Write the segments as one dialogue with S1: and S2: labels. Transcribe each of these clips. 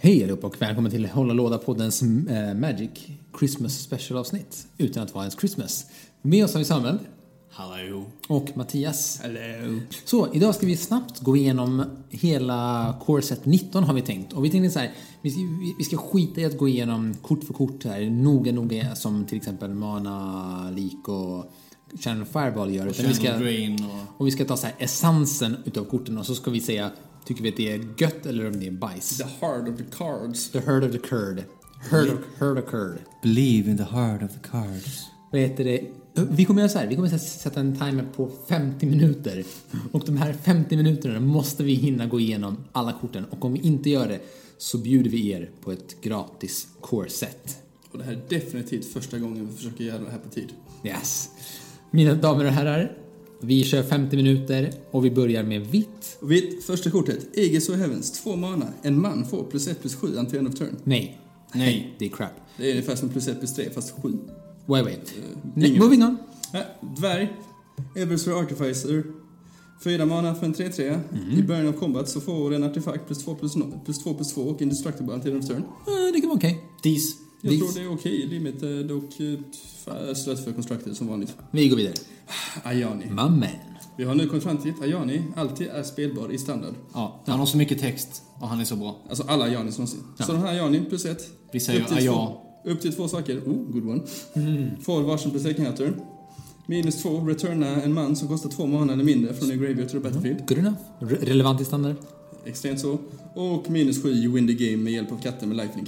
S1: Hej allihopa och välkommen till Hålla Låda-poddens eh, Magic Christmas Special-avsnitt utan att vara ens Christmas. Med oss har vi Samuel
S2: Hallå.
S1: och Mattias.
S2: Hallå.
S1: Så, idag ska vi snabbt gå igenom hela Core Set 19 har vi tänkt. Och vi tänkte så här, vi ska, vi- vi ska skita i att gå igenom kort för kort här, noga noga som till exempel Mana, Lik och Channel Fireball gör. Utan vi ska-
S2: Channel Drain och...
S1: och vi ska ta så här essensen utav korten och så ska vi säga, tycker vi att det är gött eller om det är bajs.
S2: The heart of the cards.
S1: The herd of the curd. Herd of, herd of curd.
S3: Believe in the heart of the cards.
S1: Vad heter det? Vi kommer göra så här, vi kommer sätta en timer på 50 minuter. Och de här 50 minuterna måste vi hinna gå igenom alla korten. Och om vi inte gör det så bjuder vi er på ett gratis core set.
S2: Och det här är definitivt första gången vi försöker göra det här på tid.
S1: Yes. Mina damer och herrar, vi kör 50 minuter och vi börjar med vitt.
S2: Vitt, första kortet. Aegis of Heavens, två mana. En man får plus 1 plus 7 until end of turn.
S1: Nej.
S2: Nej.
S1: Det är crap.
S2: Det är ungefär som plus 1 plus 3 fast 7.
S1: Wait, wait.
S2: ingen-
S1: Moving on.
S2: Äh, dvärg. Eversor Artificer. Fyra mana för en 3-3. I början av combat så får en artefakt plus 2 plus, no, plus 2 plus 2 och indestructible until end of turn.
S1: Eh, Det kan vara okej.
S3: These.
S2: Jag
S1: Det-
S2: tror det är okej. Limited och eh, fa- slött för constructed som vanligt.
S1: Vi går vidare.
S2: Ayani.
S1: Mammen.
S2: Vi har nu kommit fram till att Ayani alltid är spelbar i standard.
S1: Ja,
S3: Han har så mycket text och han är så bra.
S2: Alltså alla Ayanis någonsin. Så den här Ayani plus ett.
S3: Vi säger
S2: upp till
S3: Aya.
S2: Två, upp till två saker. Oh, good one. Får varsin plus second turn. Minus två, returna en man som kostar två mana eller mindre från en graveyard till the battlefield.
S1: Good enough. Re relevant i standard.
S2: Extremt så. Och minus sju, you win the game med hjälp av katten med lightning.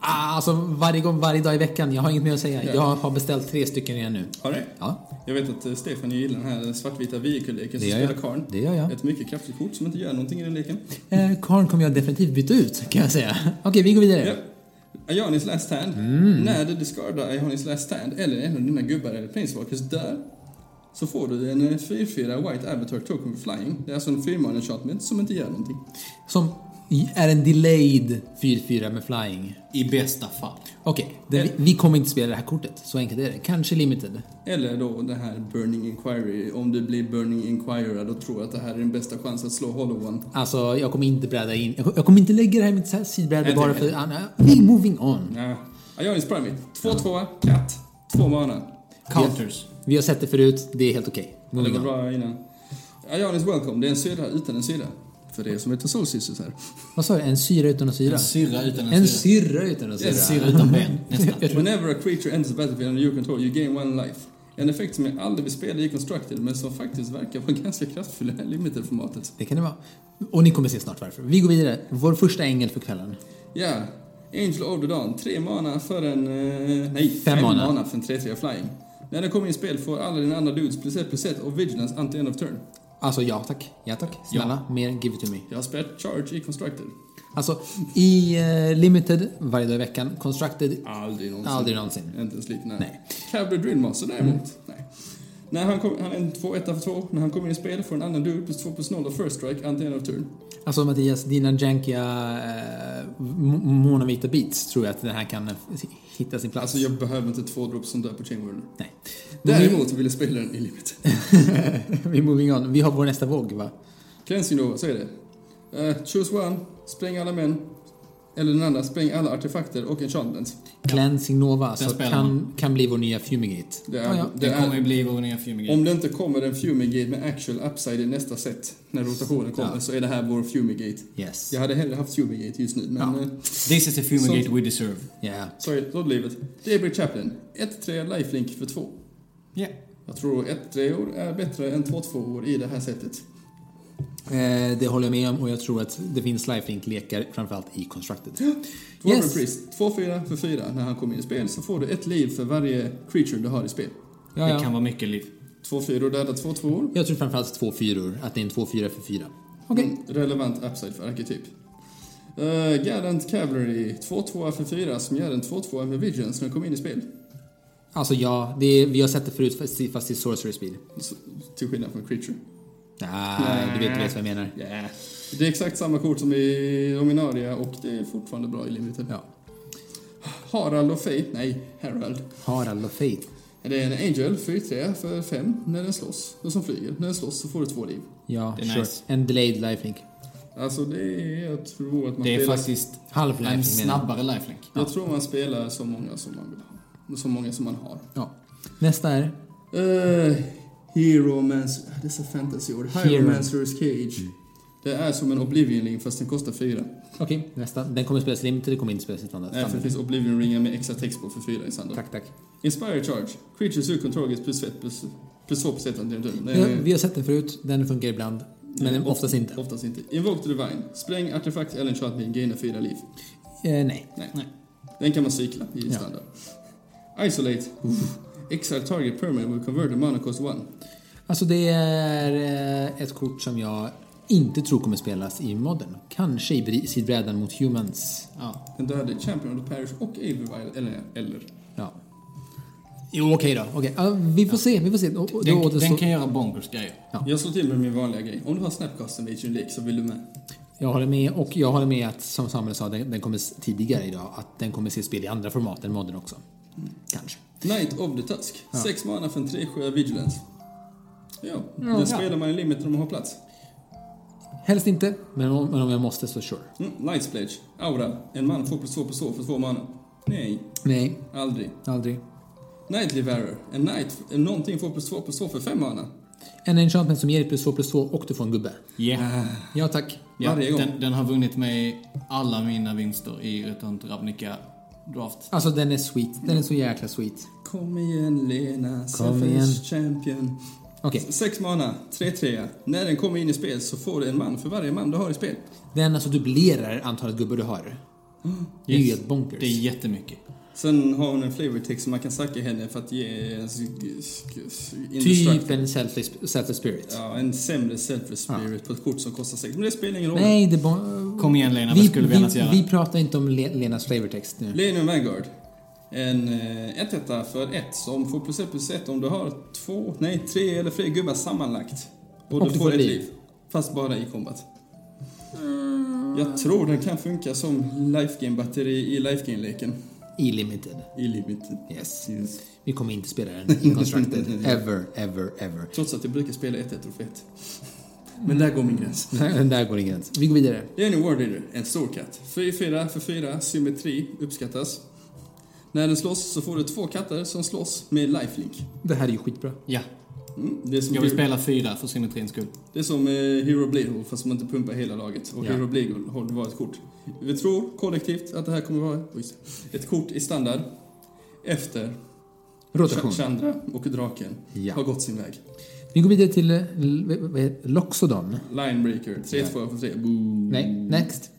S1: Ah, alltså varje, gång, varje dag i veckan. Jag har inget mer att säga.
S2: Ja.
S1: Jag har beställt tre stycken redan nu.
S2: Har det?
S1: Ja,
S2: Jag vet att eh, Stefan gillar den här svartvita vehicle-leken som
S1: Det gör jag.
S2: spelar karn.
S1: det gör jag.
S2: Ett mycket kraftigt kort som inte gör någonting i den leken.
S1: Eh, Karn kommer jag definitivt byta ut, kan jag säga. Okej, vi går vidare.
S2: Ja. Ayanis last hand. När du discardar eh, Ayanis last hand eller en av dina gubbar eller planeswalkers dör så får du en eh, 4-4 White Avatar Token Flying. Det är alltså en 4 enchantment som inte gör någonting.
S1: Som i- är en delayed 4-4 med flying.
S3: I bästa fall.
S1: Okej, det- vi, vi kommer inte spela det här kortet. Så enkelt är det. Kanske limited.
S2: Eller då det här Burning Inquiry. Om du blir Burning Inquirer då tror jag att det här är den bästa chansen att slå Hollow One.
S1: Alltså, jag kommer inte bräda in... Jag, jag kommer inte lägga det här i mitt så här sidbräde
S2: Jag
S1: bara
S2: tänker-
S1: för... Ah, nej. Vi moving on.
S2: Ja. Ayanis Primate. 2-2, katt, 2 mana.
S3: Counters.
S1: Vi har sett det förut. Det är helt okej.
S2: Det
S1: Moving
S2: var
S1: on.
S2: bra innan. Ayanis Welcome. Det är en syra utan en syra. För det är som heter Soul Sisters här.
S1: Vad sa du? En syra utan att syra?
S3: En syrra utan en,
S1: En Alltså,
S3: syrra.
S1: syrra utan att
S3: En
S1: syra?
S3: syrra utan ben. Nästan.
S2: Whenever a creature enters the battlefield under your control, you gain one life. En effekt som jag aldrig vill spela i Constructed, men som faktiskt verkar vara ganska kraftfull i det här limited-formatet.
S1: Det kan det vara. Och ni kommer se snart varför. Vi går vidare. Vår första ängel för kvällen.
S2: Ja, Angel of the Dawn. Tre mana för en... eh, nej, fem,
S1: mana.
S2: mana. för en 3-3 flying. När den kommer in i spel får alla dina andra dudes plus 1 plus 1 och vigilance until end of turn.
S1: Alltså ja tack. Ja tack. Snälla, mer give it to me.
S2: Jag har spelat charge i Constructed.
S1: Alltså i eh, limited varje dag i veckan. Constructed
S2: Aldrig någonsin.
S1: aldrig någonsin.
S2: Inte ens lite nära.
S1: Nej. Mm.
S2: Cabra Drillmaster däremot, nej. När han, kom, han är en 2-1 för 2. När han kommer in i spel får en annan dude plus 2 plus 0 och first strike until end of turn.
S1: Alltså Mattias, dina jankiga eh, mo- monovita beats tror jag att den här kan eh, hitta sin plats.
S2: Alltså jag behöver inte två drops som dör på Chainworld.
S1: Nej.
S2: Däremot vill jag spela den i limit.
S1: Vi moving on. Vi har vår nästa våg va?
S2: Cleansing Nova, så är det. Eh, choose one, spräng alla män. Eller den andra, spräng alla artefakter och enchantments.
S1: Cleansing Nova. Så
S3: spelar
S1: kan, kan bli vår nya Fumigate.
S2: Det är,
S1: Ja, ja.
S2: Det
S3: Det kommer
S2: är,
S3: ju bli vår nya fumigate.
S2: om det inte kommer en Fumigate med actual upside i nästa set, när rotationen kommer,
S1: Ja.
S2: så är det här vår Fumigate.
S1: Yes.
S2: Jag hade hellre haft Fumigate just nu, men...
S1: Ja.
S2: eh,
S3: This is the fumigate we deserve.
S1: Yeah.
S2: sorry, så är livet. Daybreak Chaplain. 1-3 lifelink för 2.
S3: Yeah.
S2: Jag tror 1-3-or är bättre än 2-2-or i det här sättet.
S1: Eh, det håller jag med om och jag tror att det finns lifelink-lekar framförallt i Constructed.
S2: Dwarven
S1: Yes.
S2: Priest, 2-4 för 4. När han kommer in i spel så får du ett liv för varje creature du har i spel.
S1: Ja,
S3: Det kan
S1: ja.
S3: vara mycket liv.
S2: 2-4 och döda 2-2.
S1: Jag tror framförallt två fyror, att det är en 2-4 för fyra. Okej.
S2: Mm, Relevant upside för arketyp. Uh, Garant Cavalry, 2-2 för 4 som gör en 2-2 med Vigilance när den kommer in i spel.
S1: Alltså ja, det är, vi har sett det förut fast i- fast i Sorcery Speed.
S2: Så, till skillnad från Creature.
S1: Nej, du vet, du vet vad jag menar.
S2: Yeah. Det är exakt samma kort som i Dominaria och det är fortfarande bra i Limited.
S1: Ja.
S2: Harald och Fate, nej, Harald.
S1: Harald och Fate.
S2: Det är en Angel, 4-3 för 5 när den slåss, och som flyger. När den slåss så får du två liv.
S1: Ja,
S3: Det är
S1: sure.
S3: nice.
S1: En delayed lifelink.
S2: Alltså det är, jag tror att man
S3: Det är
S2: spelar...
S3: faktiskt
S1: Half-life
S3: en
S1: menar jag.
S3: snabbare lifelink.
S2: Jag tror man spelar så många som man vill ha. Så många som man har.
S1: Ja. Nästa är
S2: Uh, Hero Mans... Det är så fantasyord.
S1: Hero. Mm.
S2: Hero Mancer's Cage. Det är som en Oblivion Ring fast den kostar fyra.
S1: Okej, nästa. Den kommer spelas limited, det kommer inte spelas utan
S2: Nej, för det finns Oblivion Ringar med extra text på för fyra i standard.
S1: Tack, tack.
S2: Inspire Charge. Creatures you control gets plus ett plus, plus två plus ett antal
S1: Ja, vi har sett den förut, den funkar ibland. Men
S2: Nej,
S1: oftast inte.
S2: Oftast inte. Invoke the Divine. Spräng artefakt eller enchantment, gaina fyra liv.
S1: Eh, nej.
S2: Nej.
S3: Nej.
S2: Den kan man cykla i
S1: Ja.
S2: standard. Isolate. Uff. Exile target permanent will convert the mana cost one.
S1: Alltså det är eh, ett kort som jag inte tror kommer spelas i modern. Kanske i bri- sidbrädan mot humans.
S3: Ja.
S2: Den dödade Champion of the Parish och Aelvir eller, eller.
S1: Ja. Jo, okej då. Okej, Ja, vi får se, vi får se. Och- och då
S3: Den,
S1: återstår-
S3: den kan göra bonkers grejer.
S1: Ja.
S2: Jag slår till med min vanliga grej. Om du har Snapcasten vid Unique så vill du med.
S1: Jag håller med och jag håller med att som Samuel sa, den, den kommer s- tidigare idag, att den kommer se spel i andra format än modern också. Kanske.
S2: Knight of the Tusk. Sex mana för en 3-7 Vigilance. Ja, den
S1: ja.
S2: spelar man i limit om man har plats.
S1: Helst inte, men om, men om jag måste så sure.
S2: Mm, Night's Pledge. Aura. En man 2 plus 2 plus 2 för två mana. Nej,
S1: Nej,
S2: aldrig.
S1: aldrig.
S2: Nightly Varer. En knight, en någonting 2 plus 2 plus 2 för fem mana.
S1: En enchantment som ger dig plus 2 plus 2 och du får en gubbe.
S3: Yeah.
S1: Ja tack.
S3: Ja,
S2: Varje gång.
S3: den, den har vunnit mig alla mina vinster i Return to Ravnica Draft.
S1: Alltså den är sweet. Den är så jäkla sweet.
S2: Kom igen Lena,
S1: Kom igen.
S2: Selfish Champion.
S1: Okej,
S2: Sex mana, 3-3. När den kommer in i spel så får du en man för varje man du har i spel.
S1: den alltså dubblerar antalet gubbar du har. Det är ju
S3: Yes.
S1: helt bonkers.
S3: Det är jättemycket.
S2: Sen har hon en flavor text som man kan sacka henne för att ge en s- s- s-
S1: Typ
S2: indestructible.
S1: en selfless, selfless spirit.
S2: Ja, en sämre selfless spirit på ett kort som kostar sex. Men det spelar ingen roll.
S1: Nej, det är bon-
S3: Kom igen Lena, vad
S1: vi,
S3: skulle vi annars
S1: vi,
S3: göra?
S1: vi pratar inte om Le- Lenas flavortext nu.
S2: Lenium Vanguard. En 1 1 för 1 som får plus 1 plus 1 om du har två, nej tre eller fler gubbar sammanlagt. Och, du får ett liv. Fast bara i combat. Jag tror den kan funka som life game batteri i life game leken
S1: I limited.
S2: I limited.
S1: Yes.
S2: Yes.
S1: Vi kommer inte spela den i Constructed. ever, ever, ever.
S2: Trots att jag brukar spela 1-1 och 1 Men där går min gräns.
S1: Den där går ingen gräns. Vi går vidare.
S2: Det är en War Leader, en stor katt. 4-4 för 4, symmetri uppskattas. När den slåss så får du två katter som slåss med lifelink.
S1: Det här är ju skitbra.
S3: Ja,
S2: Mm, det är som
S3: jag vill
S2: Hero-
S3: spela fyra för symmetrins skull.
S2: Det är som eh, Hero Bleedhole fast man inte pumpar hela laget. Och
S1: Ja.
S2: Hero Bleedhole var ett kort. Vi tror kollektivt att det här kommer vara oj, ett kort i standard efter
S1: Rotation.
S2: Ch- Chandra och draken
S1: Ja.
S2: har gått sin väg.
S1: Vi går vidare till eh, l- vad- vad heter- Loxodon.
S2: Linebreaker, 3 2 för 3. Boo.
S1: Nej, next.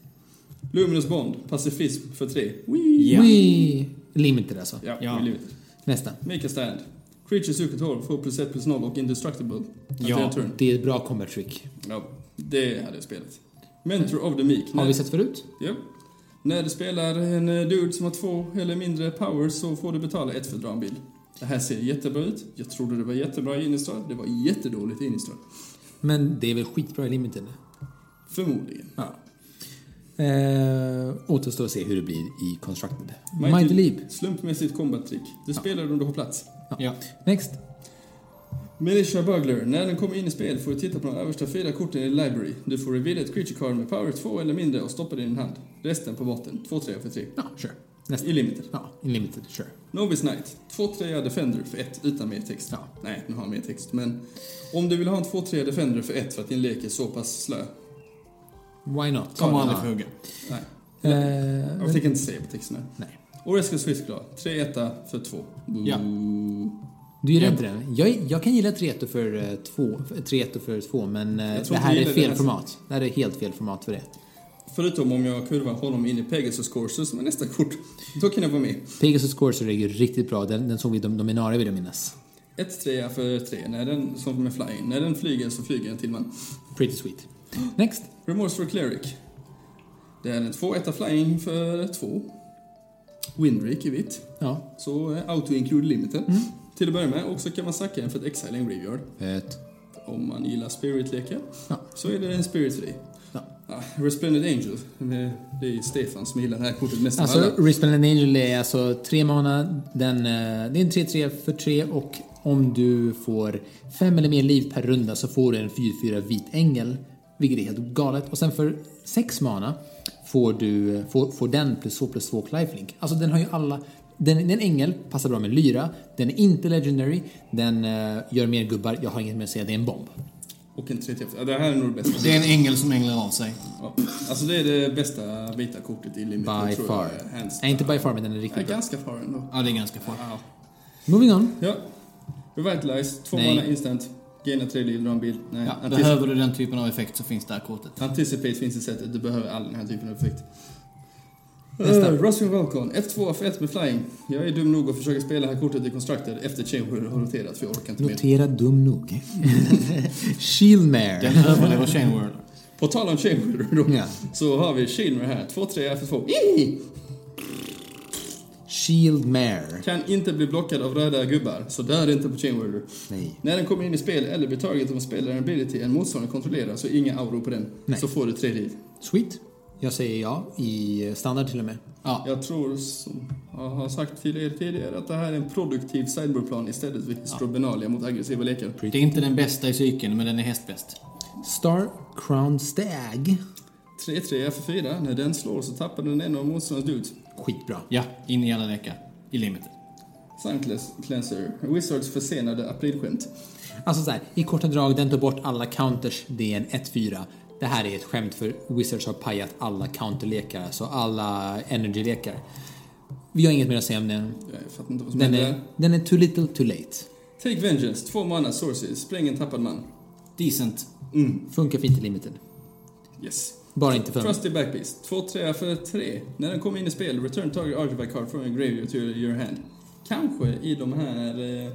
S2: Luminous Bond, pacifism för 3.
S3: Ja.
S1: We... Limited alltså.
S2: Ja,
S3: Ja.
S2: ja.
S1: Nästa.
S2: Make a stand. Creatures you control får plus 1 plus 0 och indestructible.
S3: Ja.
S2: Ja. Turn.
S1: Det är ett bra combat trick.
S2: ja. Det hade jag spelat. Mentor of the Meek.
S1: Har vi sett förut?
S2: Ja. När du spelar en eh, dude som har två eller mindre power så får du betala ett för att dra en bild. Det här ser jättebra ut. Jag trodde det var jättebra i Innistrad. Det var jättedåligt i Innistrad.
S1: Men det är väl skitbra i limited?
S2: Förmodligen.
S1: Ja. Eh, återstår att se hur det blir i Constructed. Mighty,
S2: Mighty-
S1: Leap.
S2: Slumpmässigt combat-trick. Du spelar om du har plats.
S3: Ja.
S1: Next.
S2: Militia Burglar. När den kommer in i spel får du titta på de översta fyra korten i Library. Du får reveala ett creature card med power 2 eller mindre och stoppa det i din hand. Resten på botten. 2-3 för 3.
S1: Ja, sure. Nästa.
S2: I limiter.
S1: Ja, i limited, sure.
S2: Novice Knight. 2-3 Defender för 1 utan mer text.
S1: Ja.
S2: Nej, nu har han mer text. Men om du vill ha en 2-3 Defender för 1 för att din lek är så pass slö.
S1: Why not?
S3: Kommer aldrig
S1: Ja.
S3: få hugga.
S2: Nej,
S1: Eh,
S2: jag tänker inte säga på texten här.
S1: nej.
S2: Oreska Swissglass. 3-1 för 2.
S3: Ja.
S1: Du gillar
S3: Ja.
S1: inte den? Jag, jag kan gilla 3 för eh, två, för- treto för två, men eh,
S2: Jag tror
S1: det
S2: inte
S1: här
S2: jag
S1: är
S2: gillar
S1: fel
S2: det.
S1: format. Det här är helt fel format för det.
S2: Förutom om jag kurvar honom in i Pegasus Courses som är nästa kort. Då kan jag vara med.
S1: Pegasus Courser är ju riktigt bra. Den, den såg vi i Dom- Dominaria vill jag minnas.
S2: 1-3 för 3. När den, som med flying. När den flyger så flyger den till man.
S1: Pretty sweet. Next.
S2: Remorse for Cleric. Det är en 2-1 flying för 2. Windrake i vitt.
S1: Ja.
S2: Så eh, auto-include limiten.
S1: Mm.
S2: Till att börja med. Och så kan man sacka en för att exile en graveyard.
S1: Ett.
S2: Om man gillar spirit-lekar.
S1: Ja.
S2: Så är det en spirit för dig.
S1: Ja.
S2: Ah, Resplendent Angel. Det- Det är Stefan som gillar det här kortet mest av
S1: Alltså,
S2: alla.
S1: Rispel and Angel är alltså tre mana. Den, eh, det är en 3-3 för tre och om du får fem eller mer liv per runda så får du en 4-4 vit ängel vilket är helt galet. Och sen för 6 mana får, du, får, får den plus 2 plus 2 lifelink. Alltså den har ju alla... Den, den är en ängel, passar bra med lyra. Den är inte legendary. Den eh, gör mer gubbar. Jag har inget mer att säga, det är en bomb.
S2: Och en 3TF. Ja, det här är nog det bästa.
S3: Det är en ängel som änglar av sig.
S2: Ja. Alltså det är det bästa vita kortet i Limit.
S1: By
S2: tror
S1: far.
S2: Jag, hands
S1: Nej,
S2: down.
S1: inte by far, men den är
S2: Ja,
S1: riktigt bra.
S2: ganska far ändå.
S3: Ja, det är ganska farligt.
S2: Wow.
S1: Moving on.
S2: Ja. Revitalize, två
S1: Nej.
S2: mana instant. Gaina tre liv, dra en bild. Nej.
S3: Ja,
S2: Antici-
S3: behöver du den typen av effekt så finns det här kortet.
S2: Anticipate finns i sättet, du behöver all den här typen av effekt. Eh,
S1: Nästa.
S2: Nästa. Roswing Vulcan, 1-2 för 1 med flying. Jag är dum nog att försöka spela det här kortet i Constructed efter Chamber har roterat för jag orkar inte mer.
S1: Notera dum nog. Shieldmare.
S3: Den överlever Chain World.
S2: På tal om Chamber då,
S1: Ja.
S2: så har vi Shilmer här. 2-3 för 2. Ih!
S1: Shieldmare.
S2: Kan inte bli blockad av röda gubbar, så dör inte på Chainwarder.
S1: Nej.
S2: När den kommer in i spel eller blir taget av en spelare en ability en motståndare kontrollerar så inga auror på den.
S1: Nej.
S2: Så får du tre liv.
S1: Sweet. Jag säger ja i standard till och med.
S3: Ja,
S2: Jag tror, som jag har sagt till er tidigare, att det här är en produktiv sideboardplan istället för strobenalia mot aggressiva lekar.
S3: det är inte den bästa i cykeln, men den är hästbäst.
S1: Star Crown Stag.
S2: 3-3 för 4. När den slår så tappar den en av motståndarens dudes.
S1: Skitbra.
S3: Ja, in i alla vecka. I limitet.
S2: Suncless Cleanser. Wizards försenade aprilskämt.
S1: Alltså så här, i korta drag, den tar bort alla counters. Det är en 1-4. Det här är ett skämt för Wizards har pajat alla counterlekar, alltså alla energylekar. Vi har inget mer att säga om den.
S2: Jag fattar inte vad som
S1: Den
S2: hände
S1: är,
S2: där.
S1: den är too little too late.
S2: Take Vengeance. Två mana sources. Spräng en tappad man.
S3: Decent.
S1: Funkar fint i limited.
S2: Yes.
S1: Bara inte för
S2: Trusty Backpiece. 2-3 för 3. När den kommer in i spel, return target artifact card from your graveyard to your hand. Kanske i de här eh,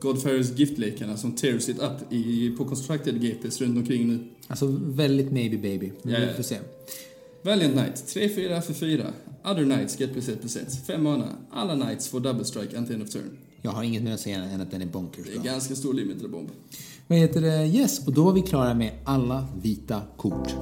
S2: Godfarers giftlekarna som tears it up i, på constructed GPs runt omkring nu.
S1: Alltså väldigt maybe baby. Men
S2: Ja, ja.
S1: Vi får se.
S2: Valiant Knight, 3-4 för 4. Other Knights get plus 1 plus 1. 5 mana. Alla Knights får double strike until end of turn.
S1: Jag har inget mer att säga än att den är bonkers
S2: Det är
S1: bra.
S2: ganska stor limited bomb.
S1: Vad heter det? Yes, och då var vi klara med alla vita kort.